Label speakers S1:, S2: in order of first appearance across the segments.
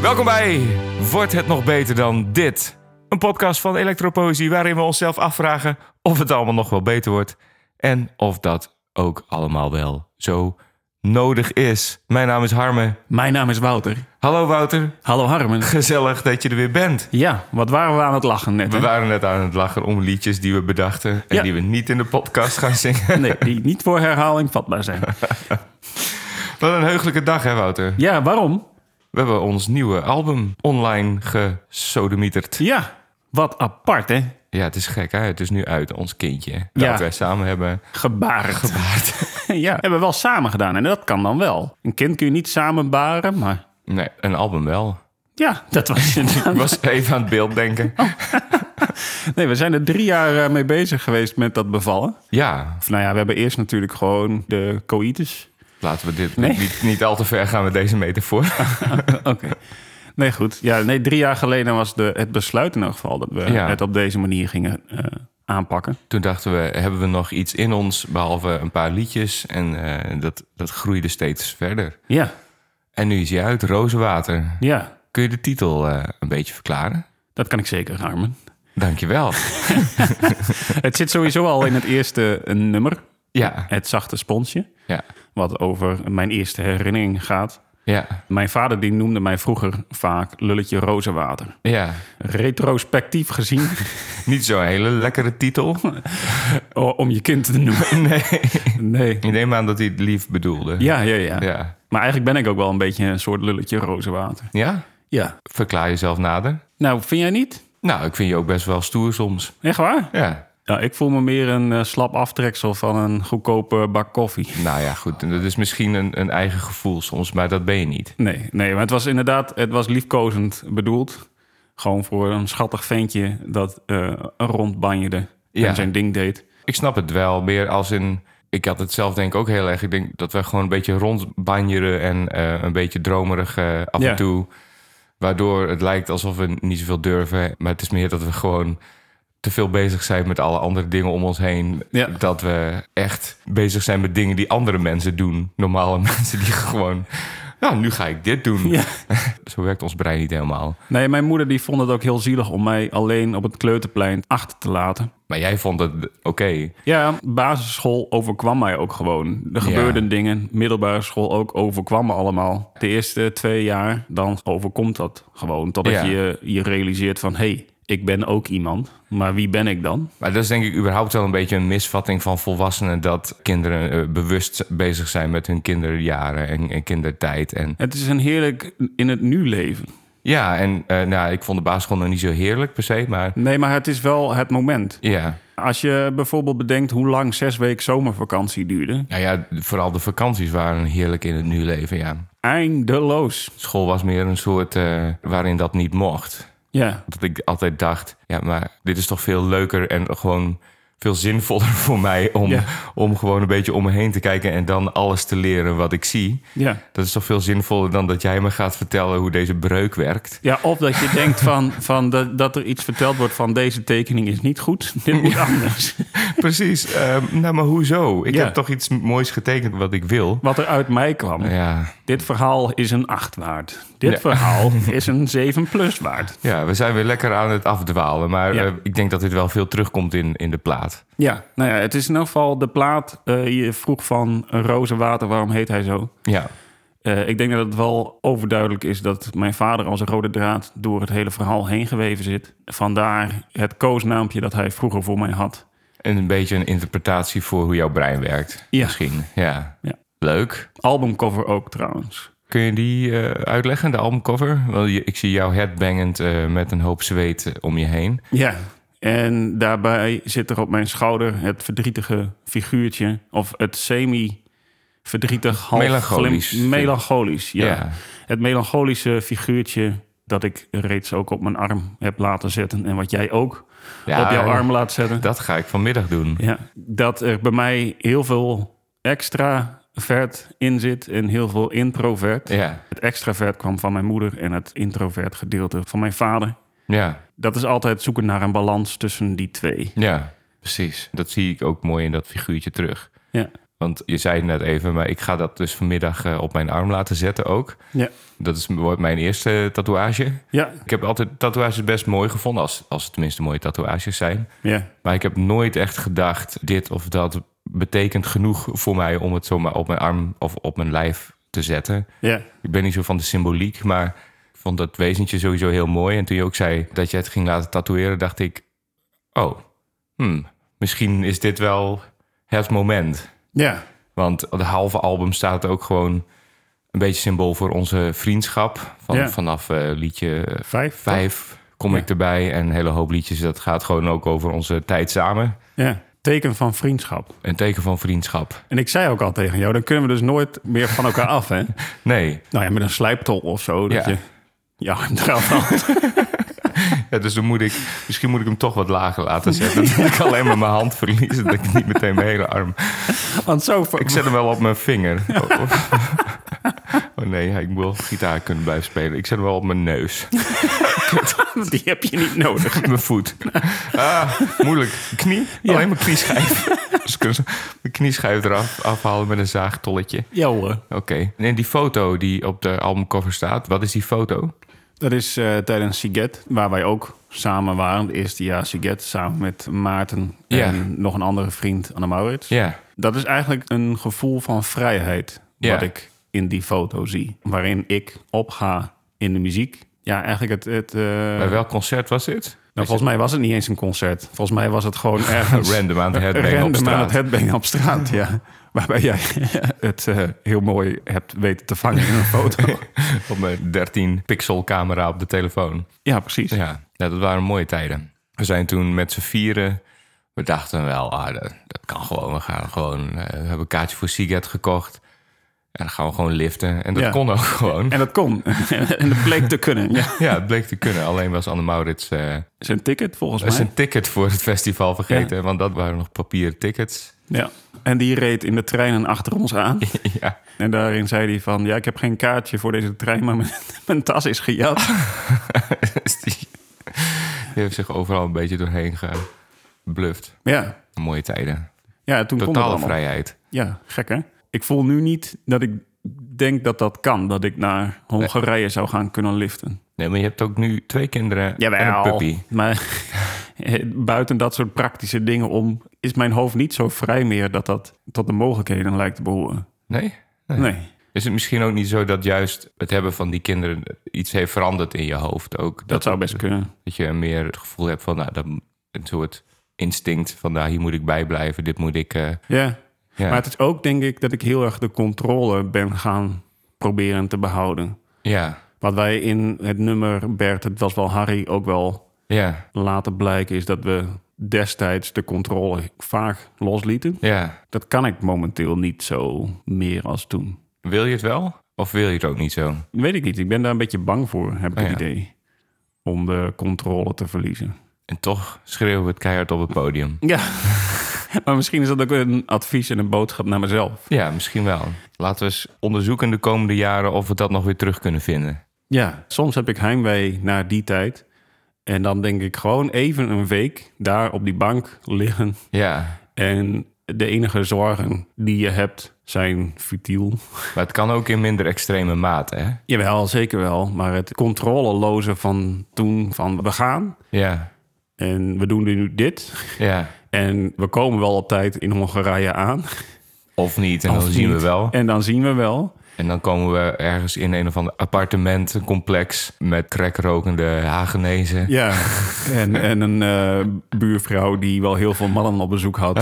S1: Welkom bij Wordt het nog beter dan dit? Een podcast van Elektropoëzie waarin we onszelf afvragen of het allemaal nog wel beter wordt. En of dat ook allemaal wel zo nodig is. Mijn naam is Harmen.
S2: Mijn naam is Wouter.
S1: Hallo Wouter,
S2: Hallo Harmen.
S1: gezellig dat je er weer bent.
S2: Ja, wat waren we aan het lachen net?
S1: We
S2: hè?
S1: waren net aan het lachen om liedjes die we bedachten en
S2: Ja.
S1: die we niet in de podcast gaan zingen.
S2: Nee, die niet voor herhaling vatbaar zijn.
S1: Wat een heugelijke dag hè Wouter?
S2: Ja, waarom?
S1: We hebben ons nieuwe album online gesodemieterd.
S2: Ja, wat apart hè?
S1: Ja, het is gek hè. Het is nu uit, ons kindje. hè, Dat
S2: Ja.
S1: wij samen hebben.
S2: Gebarend. ja, hebben we wel samen gedaan en dat kan dan wel. Een kind kun je niet samen baren, maar
S1: Nee, een album wel.
S2: ja, dat was het.
S1: Ik was even aan het beeld denken.
S2: Nee, we zijn er drie jaar eh, mee bezig geweest met dat bevallen.
S1: Ja,
S2: Of nou ja, we hebben eerst natuurlijk gewoon de coïtus.
S1: laten we dit
S2: Nee.
S1: niet, niet al te ver gaan met deze metafoor.
S2: Oké. Nee, goed. Ja, nee, drie jaar geleden was de, het besluit in elk geval dat we
S1: Ja.
S2: het op deze manier gingen eh, aanpakken.
S1: Toen dachten we, hebben we nog iets in ons, behalve een paar liedjes. En eh, dat, dat groeide steeds verder.
S2: Ja,
S1: En nu is hij uit, Rozenwater.
S2: ja.
S1: Kun je de titel eh, een beetje verklaren?
S2: Dat kan ik zeker, Armen.
S1: Dankjewel.
S2: Het zit sowieso al in het eerste eh, nummer,
S1: Ja,
S2: het zachte sponsje,
S1: ja,
S2: wat over mijn eerste herinnering gaat.
S1: ja,
S2: Mijn vader die noemde mij vroeger vaak lulletje rozenwater.
S1: ja.
S2: Retrospectief gezien,
S1: Niet zo'n hele lekkere titel.
S2: o- om je kind te noemen.
S1: Nee.
S2: Nee.
S1: Ik neem aan dat hij het lief bedoelde.
S2: Ja, ja, ja,
S1: Ja?
S2: Maar eigenlijk ben ik ook wel een beetje een soort lulletje rozenwater.
S1: Ja?
S2: Ja.
S1: Verklaar jezelf nader.
S2: Nou, vind jij niet?
S1: Nou, ik vind je ook best wel stoer soms.
S2: Echt waar?
S1: Ja,
S2: Ja, ik voel me meer een eh, slap aftreksel van een goedkope bak koffie.
S1: Nou ja, goed. Dat is misschien een, een eigen gevoel soms, maar dat ben je niet.
S2: Nee, nee, maar het was inderdaad, het was liefkozend bedoeld. Gewoon voor een schattig ventje dat eh rondbanjerde
S1: Ja.
S2: en zijn ding deed.
S1: Ik snap het wel meer als in... Ik had het zelf denk ik ook heel erg. Ik denk dat we gewoon een beetje rondbanjeren en eh, een beetje dromerig eh, af
S2: Ja.
S1: en toe. Waardoor het lijkt alsof we niet zoveel durven. Maar het is meer dat we gewoon te veel bezig zijn met alle andere dingen om ons heen.
S2: Ja.
S1: Dat we echt bezig zijn met dingen die andere mensen doen. Normale mensen die gewoon... Nou, nu ga ik dit doen.
S2: Ja.
S1: Zo werkt ons brein niet helemaal.
S2: Nee, mijn moeder die vond het ook heel zielig om mij alleen op het kleuterplein achter te laten.
S1: Maar jij vond het oké.
S2: Ja, basisschool overkwam mij ook gewoon. Er gebeurden dingen, middelbare school ook overkwam me allemaal. De eerste twee jaar, dan overkomt dat gewoon. Totdat
S1: Ja.
S2: je je realiseert van, hé, hey, ik ben ook iemand. Maar wie ben ik dan?
S1: Maar dat is denk ik überhaupt wel een beetje een misvatting van volwassenen... dat kinderen eh, bewust bezig zijn met hun kinderjaren en, en kindertijd. En,
S2: Het is een heerlijk in het nu leven.
S1: ja, en eh, nou, ik vond de basisschool nog niet zo heerlijk per se, maar...
S2: Nee, maar het is wel het moment.
S1: Ja,
S2: Als je bijvoorbeeld bedenkt hoe lang zes weken zomervakantie duurde.
S1: nou ja, vooral de vakanties waren heerlijk in het nu leven, ja.
S2: Eindeloos.
S1: School was meer een soort eh, waarin dat niet mocht.
S2: Ja.
S1: Dat ik altijd dacht, ja, maar dit is toch veel leuker en gewoon veel zinvoller voor mij... om,
S2: Ja.
S1: om gewoon een beetje om me heen te kijken en dan alles te leren wat ik zie...
S2: Ja.
S1: Dat is toch veel zinvoller dan dat jij me gaat vertellen hoe deze breuk werkt.
S2: ja, of dat je denkt van, van dat, dat er iets verteld wordt van deze tekening is niet goed. Dit moet anders.
S1: Precies. ehm, nou, maar hoezo? Ik
S2: Ja.
S1: heb toch iets moois getekend wat ik wil.
S2: Wat er uit mij kwam.
S1: Ja,
S2: Dit verhaal is een 8 waard. Dit
S1: Ja.
S2: verhaal is een 7 plus waard.
S1: ja, we zijn weer lekker aan het afdwalen. Maar
S2: Ja.
S1: eh, ik denk dat dit wel veel terugkomt in, in de plaat.
S2: Ja, nou ja, het is in elk geval de plaat. eh, je vroeg van eh, Rozenwater, waarom heet hij zo?
S1: Ja,
S2: Eh, ik denk dat het wel overduidelijk is dat mijn vader als een rode draad door het hele verhaal heen geweven zit. Vandaar het koosnaampje dat hij vroeger voor mij had.
S1: en een beetje een interpretatie voor hoe jouw brein werkt.
S2: Ja.
S1: Misschien, ja.
S2: Ja.
S1: Leuk.
S2: Albumcover ook trouwens.
S1: Kun je die eh, uitleggen, de albumcover? Want je- ik zie jou headbangend eh, met een hoop zweet eh, om je heen.
S2: Ja. En daarbij zit er op mijn schouder het verdrietige figuurtje. Of het semi-verdrietig, half
S1: Melancholisch.
S2: glim- melancholisch, ja.
S1: Ja.
S2: Het melancholische figuurtje dat ik reeds ook op mijn arm heb laten zetten. En wat jij ook
S1: Ja,
S2: op jouw arm laat zetten.
S1: Dat ga ik vanmiddag doen.
S2: Ja, dat er bij mij heel veel extravert in zit en heel veel introvert.
S1: Ja,
S2: Het extravert kwam van mijn moeder en het introvert gedeelte van mijn vader.
S1: ja.
S2: Dat is altijd zoeken naar een balans tussen die twee.
S1: Ja, precies. Dat zie ik ook mooi in dat figuurtje terug.
S2: Ja.
S1: Want je zei het net even, maar ik ga dat dus vanmiddag eh, op mijn arm laten zetten ook.
S2: Ja.
S1: Dat is, wordt mijn eerste tatoeage.
S2: Ja.
S1: Ik heb altijd tatoeages best mooi gevonden, als, als het tenminste mooie tatoeages zijn.
S2: Ja.
S1: Maar ik heb nooit echt gedacht, dit of dat betekent genoeg voor mij om het zomaar op mijn arm of op mijn lijf te zetten.
S2: Ja.
S1: Ik ben niet zo van de symboliek, maar ik vond dat wezentje sowieso heel mooi. En toen je ook zei dat je het ging laten tatoeëren, dacht ik, oh, hmm, misschien is dit wel het moment.
S2: Ja.
S1: Want de halve album staat ook gewoon een beetje symbool voor onze vriendschap. Van,
S2: Ja.
S1: Vanaf eh, liedje
S2: Vijf. toch?
S1: vijf kom ik erbij en een hele hoop liedjes. Dat gaat gewoon ook over onze tijd samen.
S2: Ja. Teken van vriendschap.
S1: Een teken van vriendschap.
S2: En ik zei ook al tegen jou, dan kunnen we dus nooit meer van elkaar af, hè?
S1: Nee,
S2: Nou ja, met een slijptol of zo. Dat
S1: Ja.
S2: je... Ja, inderdaad.
S1: ja, dus dan moet ik, misschien moet ik hem toch wat lager laten zetten. Dat ik alleen maar mijn hand verlies en dat ik niet meteen mijn hele arm...
S2: Want zo...
S1: Ik zet hem wel op mijn vinger. Oh, oh. Oh nee, ja, ik moet wel gitaar kunnen blijven spelen. Ik zet hem wel op mijn neus.
S2: Die heb je niet nodig.
S1: Mijn voet. Ah, moeilijk. Knie? Alleen mijn knieschijf. Dus ik kan zo mijn knieschijf eraf afhalen met een zaagtolletje.
S2: Ja hoor.
S1: Oké. En die foto die op de albumcover staat, wat is die foto?
S2: Dat is eh, tijdens Siget, waar wij ook samen waren. Het eerste jaar Siget, samen met Maarten en
S1: Ja.
S2: nog een andere vriend, Anne Maurits.
S1: Ja.
S2: Dat is eigenlijk een gevoel van vrijheid
S1: Ja.
S2: wat ik in die foto zie. Waarin ik opga in de muziek. Ja, eigenlijk het... het eh,
S1: Bij welk concert was dit?
S2: nou, volgens mij was het niet eens een concert. Volgens mij was het gewoon ergens...
S1: Random aan het headbang op
S2: random aan
S1: straat.
S2: het headbang op straat, ja. Waarbij jij het eh, heel mooi hebt weten te vangen in een foto.
S1: Op mijn 13 pixel camera op de telefoon.
S2: ja, precies.
S1: Ja, ja, dat waren mooie tijden. We zijn toen met z'n vieren. We dachten wel, ah, dat, dat kan gewoon. We gaan gewoon. eh, we hebben een kaartje voor Seagate gekocht. En dan gaan we gewoon liften. En dat
S2: Ja.
S1: kon ook gewoon.
S2: En dat kon. en dat bleek te kunnen. Ja.
S1: Ja, het bleek te kunnen. Alleen was Anne Maurits eh,
S2: Zijn ticket volgens mij.
S1: zijn ticket voor het festival vergeten. Want dat waren nog papieren tickets.
S2: Ja. En die reed in de treinen achter ons aan.
S1: ja.
S2: En daarin zei hij van... Ja, ik heb geen kaartje voor deze trein, maar mijn, mijn tas is gejat.
S1: Ah. Dus die, die heeft zich overal een beetje doorheen gebluft.
S2: Ja,
S1: Mooie tijden.
S2: ja toen kon dat
S1: Totale
S2: allemaal.
S1: vrijheid.
S2: Ja, gek hè? Ik voel nu niet dat ik denk dat dat kan. Dat ik naar Hongarije zou gaan kunnen liften.
S1: Nee, maar je hebt ook nu twee kinderen en een puppy.
S2: Maar buiten dat soort praktische dingen om... is mijn hoofd niet zo vrij meer dat dat tot de mogelijkheden lijkt te behoren.
S1: Nee?
S2: Nee.
S1: Is het misschien ook niet zo dat juist het hebben van die kinderen iets heeft veranderd in je hoofd ook?
S2: Dat zou best kunnen.
S1: dat je meer het gevoel hebt van nou, dat, een soort instinct van nou, hier moet ik bij blijven, dit moet ik. eh,
S2: Ja.
S1: ja.
S2: Maar het is ook, denk ik, dat ik heel erg de controle ben gaan proberen te behouden.
S1: ja,
S2: Wat wij in het nummer Bert, het was wel Harry, ook wel
S1: ja,
S2: laten blijken... is dat we destijds de controle vaak loslieten.
S1: ja.
S2: Dat kan ik momenteel niet zo meer als toen.
S1: Wil je het wel of wil je het ook niet zo?
S2: Weet ik niet, ik ben daar een beetje bang voor, heb ik
S1: Oh,
S2: het
S1: ja.
S2: idee. Om de controle te verliezen.
S1: En toch schreeuwen we het keihard op het podium.
S2: Ja, maar misschien is dat ook een advies en een boodschap naar mezelf.
S1: Ja, misschien wel. Laten we eens onderzoeken de komende jaren of we dat nog weer terug kunnen vinden.
S2: Ja, soms heb ik heimwee naar die tijd. En dan denk ik gewoon even een week daar op die bank liggen.
S1: Ja,
S2: En de enige zorgen die je hebt zijn futiel.
S1: maar het kan ook in minder extreme mate, hè?
S2: Jawel, zeker wel. Maar het controleloze van toen, van we gaan
S1: Ja,
S2: en we doen nu dit.
S1: ja.
S2: En we komen wel op tijd in Hongarije aan.
S1: Of niet, en
S2: Of
S1: dan zien we
S2: niet.
S1: wel.
S2: En dan zien we wel.
S1: En dan komen we ergens in een of ander appartementencomplex met crackrokende Hagenezen.
S2: Ja, en, en een eh, buurvrouw die wel heel veel mannen op bezoek had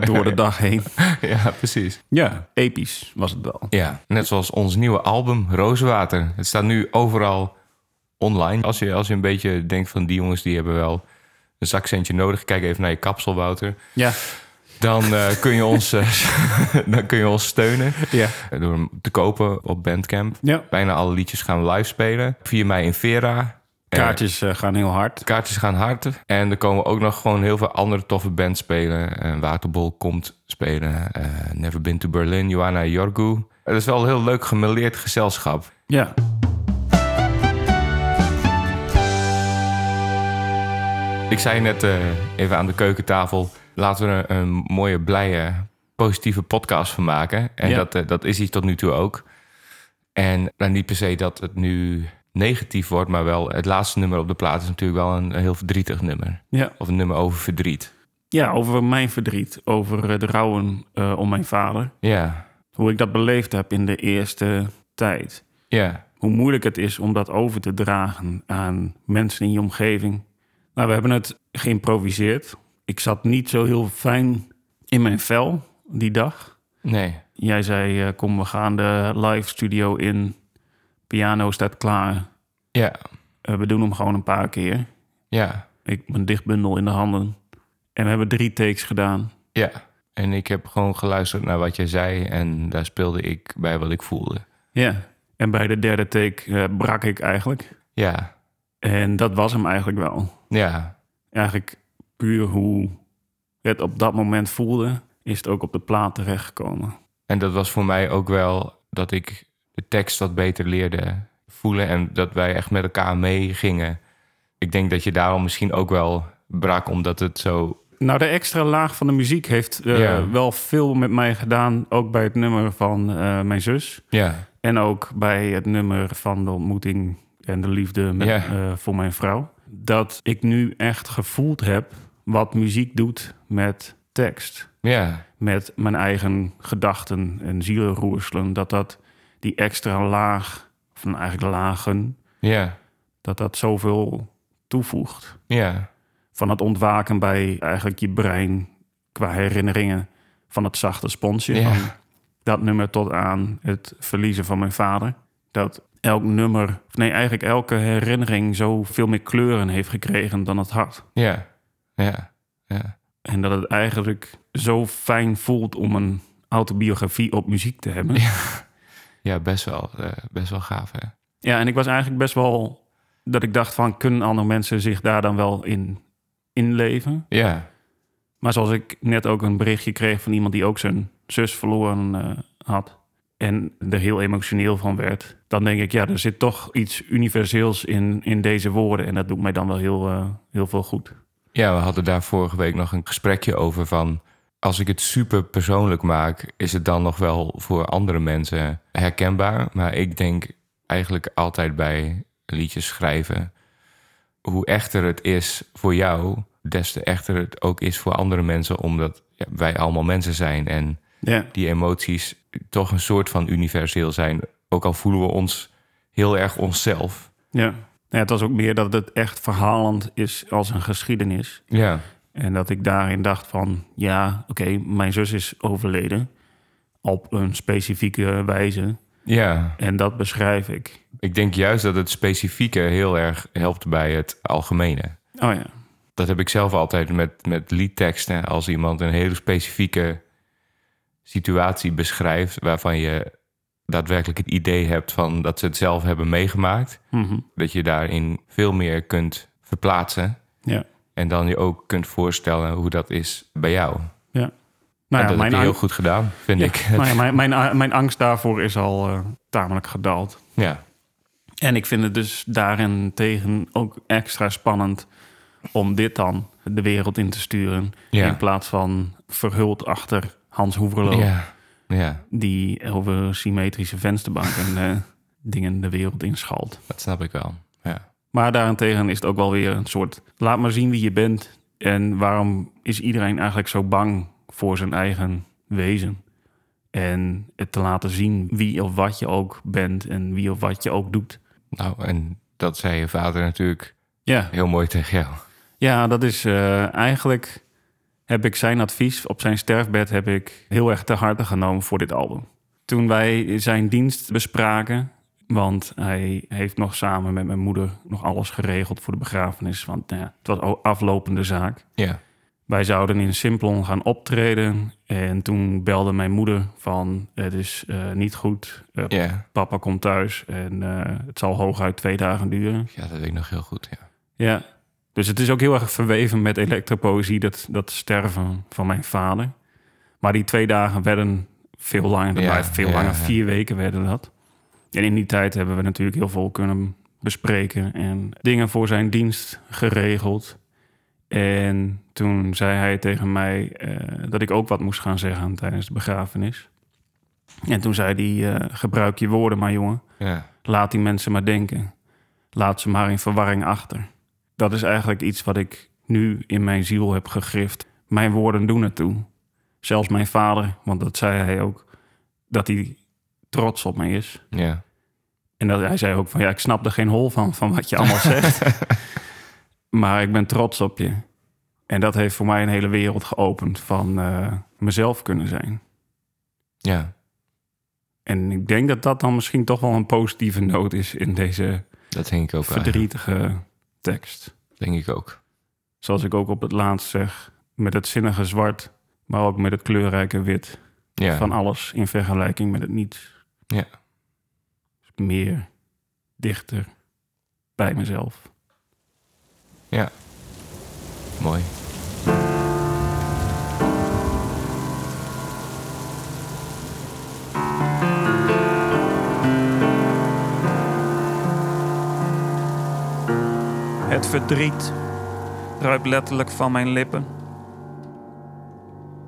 S2: door de dag heen.
S1: Ja. precies.
S2: Ja, episch was het wel.
S1: Ja, net zoals ons nieuwe album Rooswater. Het staat nu overal online. Als je, als je een beetje denkt van die jongens die hebben wel een zakcentje nodig. Kijk even naar je kapsel, Wouter.
S2: Ja,
S1: Dan, eh, kun, je ons, eh, dan kun je ons steunen
S2: ja.
S1: eh, door hem te kopen op Bandcamp.
S2: ja.
S1: Bijna alle liedjes gaan we live spelen. 4 mei in Vera. Eh,
S2: Kaartjes eh, gaan heel hard.
S1: Kaartjes gaan hard. En er komen ook nog gewoon heel veel andere toffe bands spelen. Eh, Waterbol komt spelen. eh, Never Been to Berlin, Johanna Jorgu. Het is wel een heel leuk gemêleerd gezelschap.
S2: Ja.
S1: Ik zei net eh, even aan de keukentafel... laten we een, een mooie, blije positieve podcast van maken. En
S2: Ja.
S1: dat, eh, dat is iets tot nu toe ook. En nou, niet per se dat het nu negatief wordt, maar wel het laatste nummer op de plaat is natuurlijk wel een, een heel verdrietig nummer.
S2: Ja.
S1: Of een nummer over verdriet.
S2: ja, over mijn verdriet, over eh, de rouwen eh, om mijn vader.
S1: Ja,
S2: Hoe ik dat beleefd heb in de eerste tijd.
S1: ja,
S2: Hoe moeilijk het is om dat over te dragen aan mensen in je omgeving. Nou, we hebben het geïmproviseerd. Ik zat niet zo heel fijn in mijn vel die dag.
S1: nee,
S2: Jij zei, eh, kom, we gaan de live studio in. Piano staat klaar.
S1: ja,
S2: Eh, we doen hem gewoon een paar keer.
S1: ja,
S2: Ik heb een dichtbundel in de handen. En we hebben drie takes gedaan.
S1: ja. En ik heb gewoon geluisterd naar wat jij zei en daar speelde ik bij wat ik voelde.
S2: Ja. En bij de derde take eh, brak ik eigenlijk.
S1: Ja,
S2: En dat was hem eigenlijk wel.
S1: ja,
S2: Eigenlijk puur hoe het op dat moment voelde, is het ook op de plaat terechtgekomen.
S1: En dat was voor mij ook wel dat ik de tekst wat beter leerde voelen en dat wij echt met elkaar meegingen. Ik denk dat je daarom misschien ook wel brak, omdat het zo.
S2: Nou, de extra laag van de muziek heeft eh,
S1: Ja.
S2: wel veel met mij gedaan. Ook bij het nummer van eh, mijn zus.
S1: Ja,
S2: En ook bij het nummer van de ontmoeting en de liefde met,
S1: Ja.
S2: eh, voor mijn vrouw. Dat ik nu echt gevoeld heb wat muziek doet met tekst.
S1: ja,
S2: Met mijn eigen gedachten en zielenroerselen. Dat dat die extra laag, of nou eigenlijk lagen,
S1: ja,
S2: dat dat zoveel toevoegt.
S1: ja,
S2: Van het ontwaken bij eigenlijk je brein qua herinneringen van het zachte sponsje.
S1: Ja.
S2: Van dat nummer tot aan het verliezen van mijn vader. Dat elk nummer, of nee, eigenlijk elke herinnering zoveel meer kleuren heeft gekregen dan het hart.
S1: ja, ja, ja,
S2: En dat het eigenlijk zo fijn voelt om een autobiografie op muziek te hebben. Ja,
S1: ja, best wel, eh, best wel gaaf, hè?
S2: en ik was eigenlijk best wel dat ik dacht van kunnen andere mensen zich daar dan wel in inleven?
S1: Ja,
S2: Maar zoals ik net ook een berichtje kreeg van iemand die ook zijn zus verloren eh, had. En er heel emotioneel van werd. Dan denk ik, ja, er zit toch iets universeels in, in deze woorden. En dat doet mij dan wel heel, eh, heel veel goed.
S1: ja, we hadden daar vorige week nog een gesprekje over van. Als ik het super persoonlijk maak, is het dan nog wel voor andere mensen herkenbaar. Maar ik denk eigenlijk altijd bij liedjes schrijven. hoe echter het is voor jou, des te echter het ook is voor andere mensen, omdat ja, wij allemaal mensen zijn en
S2: Ja,
S1: die emoties toch een soort van universeel zijn. Ook al voelen we ons heel erg onszelf.
S2: ja. ja het was ook meer dat het echt verhalend is als een geschiedenis.
S1: Ja,
S2: En dat ik daarin dacht van, ja, oké, mijn zus is overleden. Op een specifieke wijze.
S1: ja.
S2: En dat beschrijf ik.
S1: Ik denk juist dat het specifieke heel erg helpt bij het algemene.
S2: Oh ja,
S1: dat heb ik zelf altijd met, met liedteksten. Als iemand een hele specifieke situatie beschrijft... waarvan je daadwerkelijk het idee hebt van dat ze het zelf hebben meegemaakt...
S2: Mhm.
S1: dat je daarin veel meer kunt verplaatsen...
S2: ja.
S1: en dan je ook kunt voorstellen hoe dat is bij jou.
S2: Ja.
S1: En
S2: Nou ja,
S1: dat
S2: mijn,
S1: heb je heel
S2: ang-
S1: goed gedaan, vind ik.
S2: nou ja, mijn, mijn, mijn angst daarvoor is al eh, tamelijk gedaald.
S1: ja,
S2: En ik vind het dus daarentegen ook extra spannend om dit dan de wereld in te sturen.
S1: Ja.
S2: In plaats van verhuld achter Hans Hoeverlo,
S1: ja, ja,
S2: die over symmetrische vensterbanken eh, dingen de wereld inschalt.
S1: dat snap ik wel. Ja,
S2: Maar daarentegen is het ook wel weer een soort laat maar zien wie je bent. En waarom is iedereen eigenlijk zo bang voor zijn eigen wezen? En het te laten zien wie of wat je ook bent en wie of wat je ook doet.
S1: nou, en dat zei je vader natuurlijk
S2: Ja,
S1: heel mooi tegen jou.
S2: ja dat is eh, eigenlijk heb ik zijn advies op zijn sterfbed heb ik heel erg te harte genomen voor dit album. Toen wij zijn dienst bespraken, want hij heeft nog samen met mijn moeder nog alles geregeld voor de begrafenis, want nou ja, het was al aflopende zaak.
S1: Ja,
S2: Wij zouden in Simplon gaan optreden. En toen belde mijn moeder van... het is eh, niet goed, Eh,
S1: ja,
S2: papa komt thuis... en eh, het zal hooguit twee dagen duren.
S1: ja, dat weet ik nog heel goed, ja.
S2: Ja. Dus het is ook heel erg verweven met elektropoëzie... dat, dat sterven van mijn vader. Maar die twee dagen werden veel langer.
S1: Ja,
S2: Ja, veel
S1: ja,
S2: langer,
S1: ja.
S2: vier weken werden dat. En in die tijd hebben we natuurlijk heel veel kunnen bespreken... en dingen voor zijn dienst geregeld... En toen zei hij tegen mij eh, dat ik ook wat moest gaan zeggen tijdens de begrafenis. En toen zei hij, eh, gebruik je woorden maar jongen.
S1: Ja.
S2: Laat die mensen maar denken. Laat ze maar in verwarring achter. Dat is eigenlijk iets wat ik nu in mijn ziel heb gegrift. Mijn woorden doen het toe. Zelfs mijn vader, want dat zei hij ook, dat hij trots op mij is.
S1: ja.
S2: En dat, hij zei ook van ja, ik snap er geen hol van, van wat je allemaal zegt. maar ik ben trots op je. En dat heeft voor mij een hele wereld geopend van eh, mezelf kunnen zijn.
S1: Ja.
S2: En ik denk dat dat dan misschien toch wel een positieve noot is in deze
S1: Dat denk ik ook. eigenlijk.
S2: verdrietige tekst.
S1: Denk ik ook.
S2: Zoals ik ook op het laatst zeg, met het zinnige zwart, maar ook met het kleurrijke wit.
S1: Ja.
S2: Van alles in vergelijking met het niets.
S1: Ja.
S2: Dus Meer, dichter, bij mezelf.
S1: Ja. Mooi.
S3: Het verdriet druipt letterlijk van mijn lippen.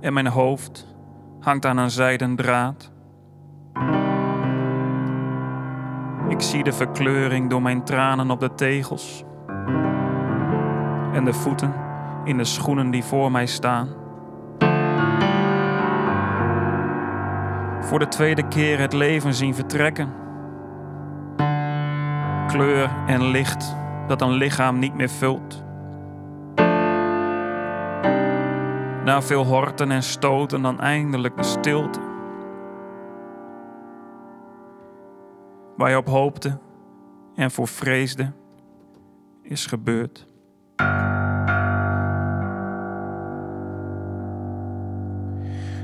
S3: En mijn hoofd hangt aan een zijden draad. Ik zie de verkleuring door mijn tranen op de tegels. En de voeten in de schoenen die voor mij staan. Voor de tweede keer het leven zien vertrekken. Kleur en licht dat een lichaam niet meer vult. Na veel horten en stoten dan eindelijk de stilte. Waar je op hoopte en voor vreesde, is gebeurd.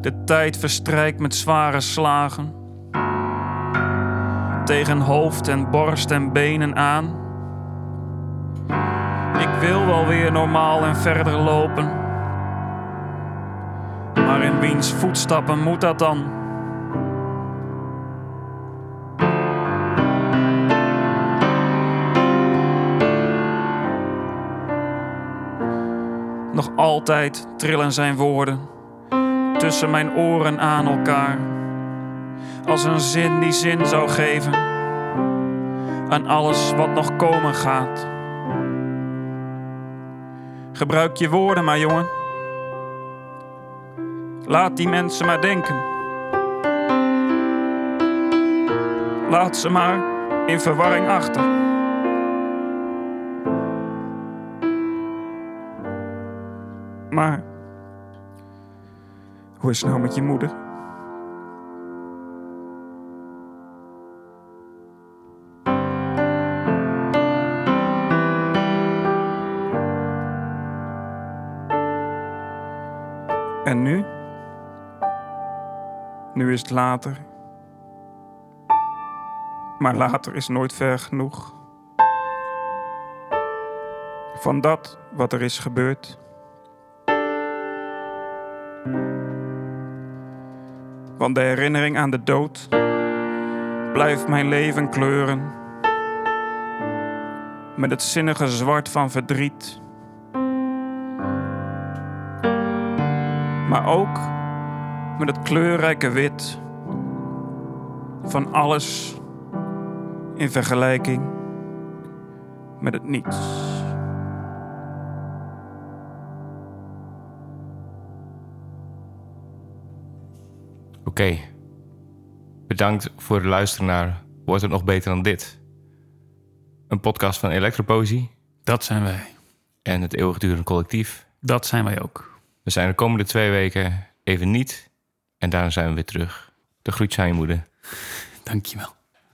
S3: De tijd verstrijkt met zware slagen. Tegen hoofd en borst en benen aan. Ik wil wel weer normaal en verder lopen. Maar in wiens voetstappen moet dat dan? Nog altijd trillen zijn woorden tussen mijn oren aan elkaar. Als een zin die zin zou geven aan alles wat nog komen gaat. Gebruik je woorden maar, jongen. Laat die mensen maar denken. Laat ze maar in verwarring achter. Maar, hoe is het nou met je moeder? En nu? Nu is het later. Maar later is nooit ver genoeg. Van dat wat er is gebeurd. Want de herinnering aan de dood blijft mijn leven kleuren. Met het zinnige zwart van verdriet. maar ook met het kleurrijke wit van alles in vergelijking met het niets.
S1: Oké. Bedankt voor het luisteren naar Wordt het nog beter dan dit? Een podcast van Electropoëzie
S2: Dat zijn wij.
S1: en het eeuwigdurend collectief.
S2: Dat zijn wij ook.
S1: We zijn de komende twee weken even niet en daarna zijn we weer terug. De groet aan je moeder.
S2: Dankjewel.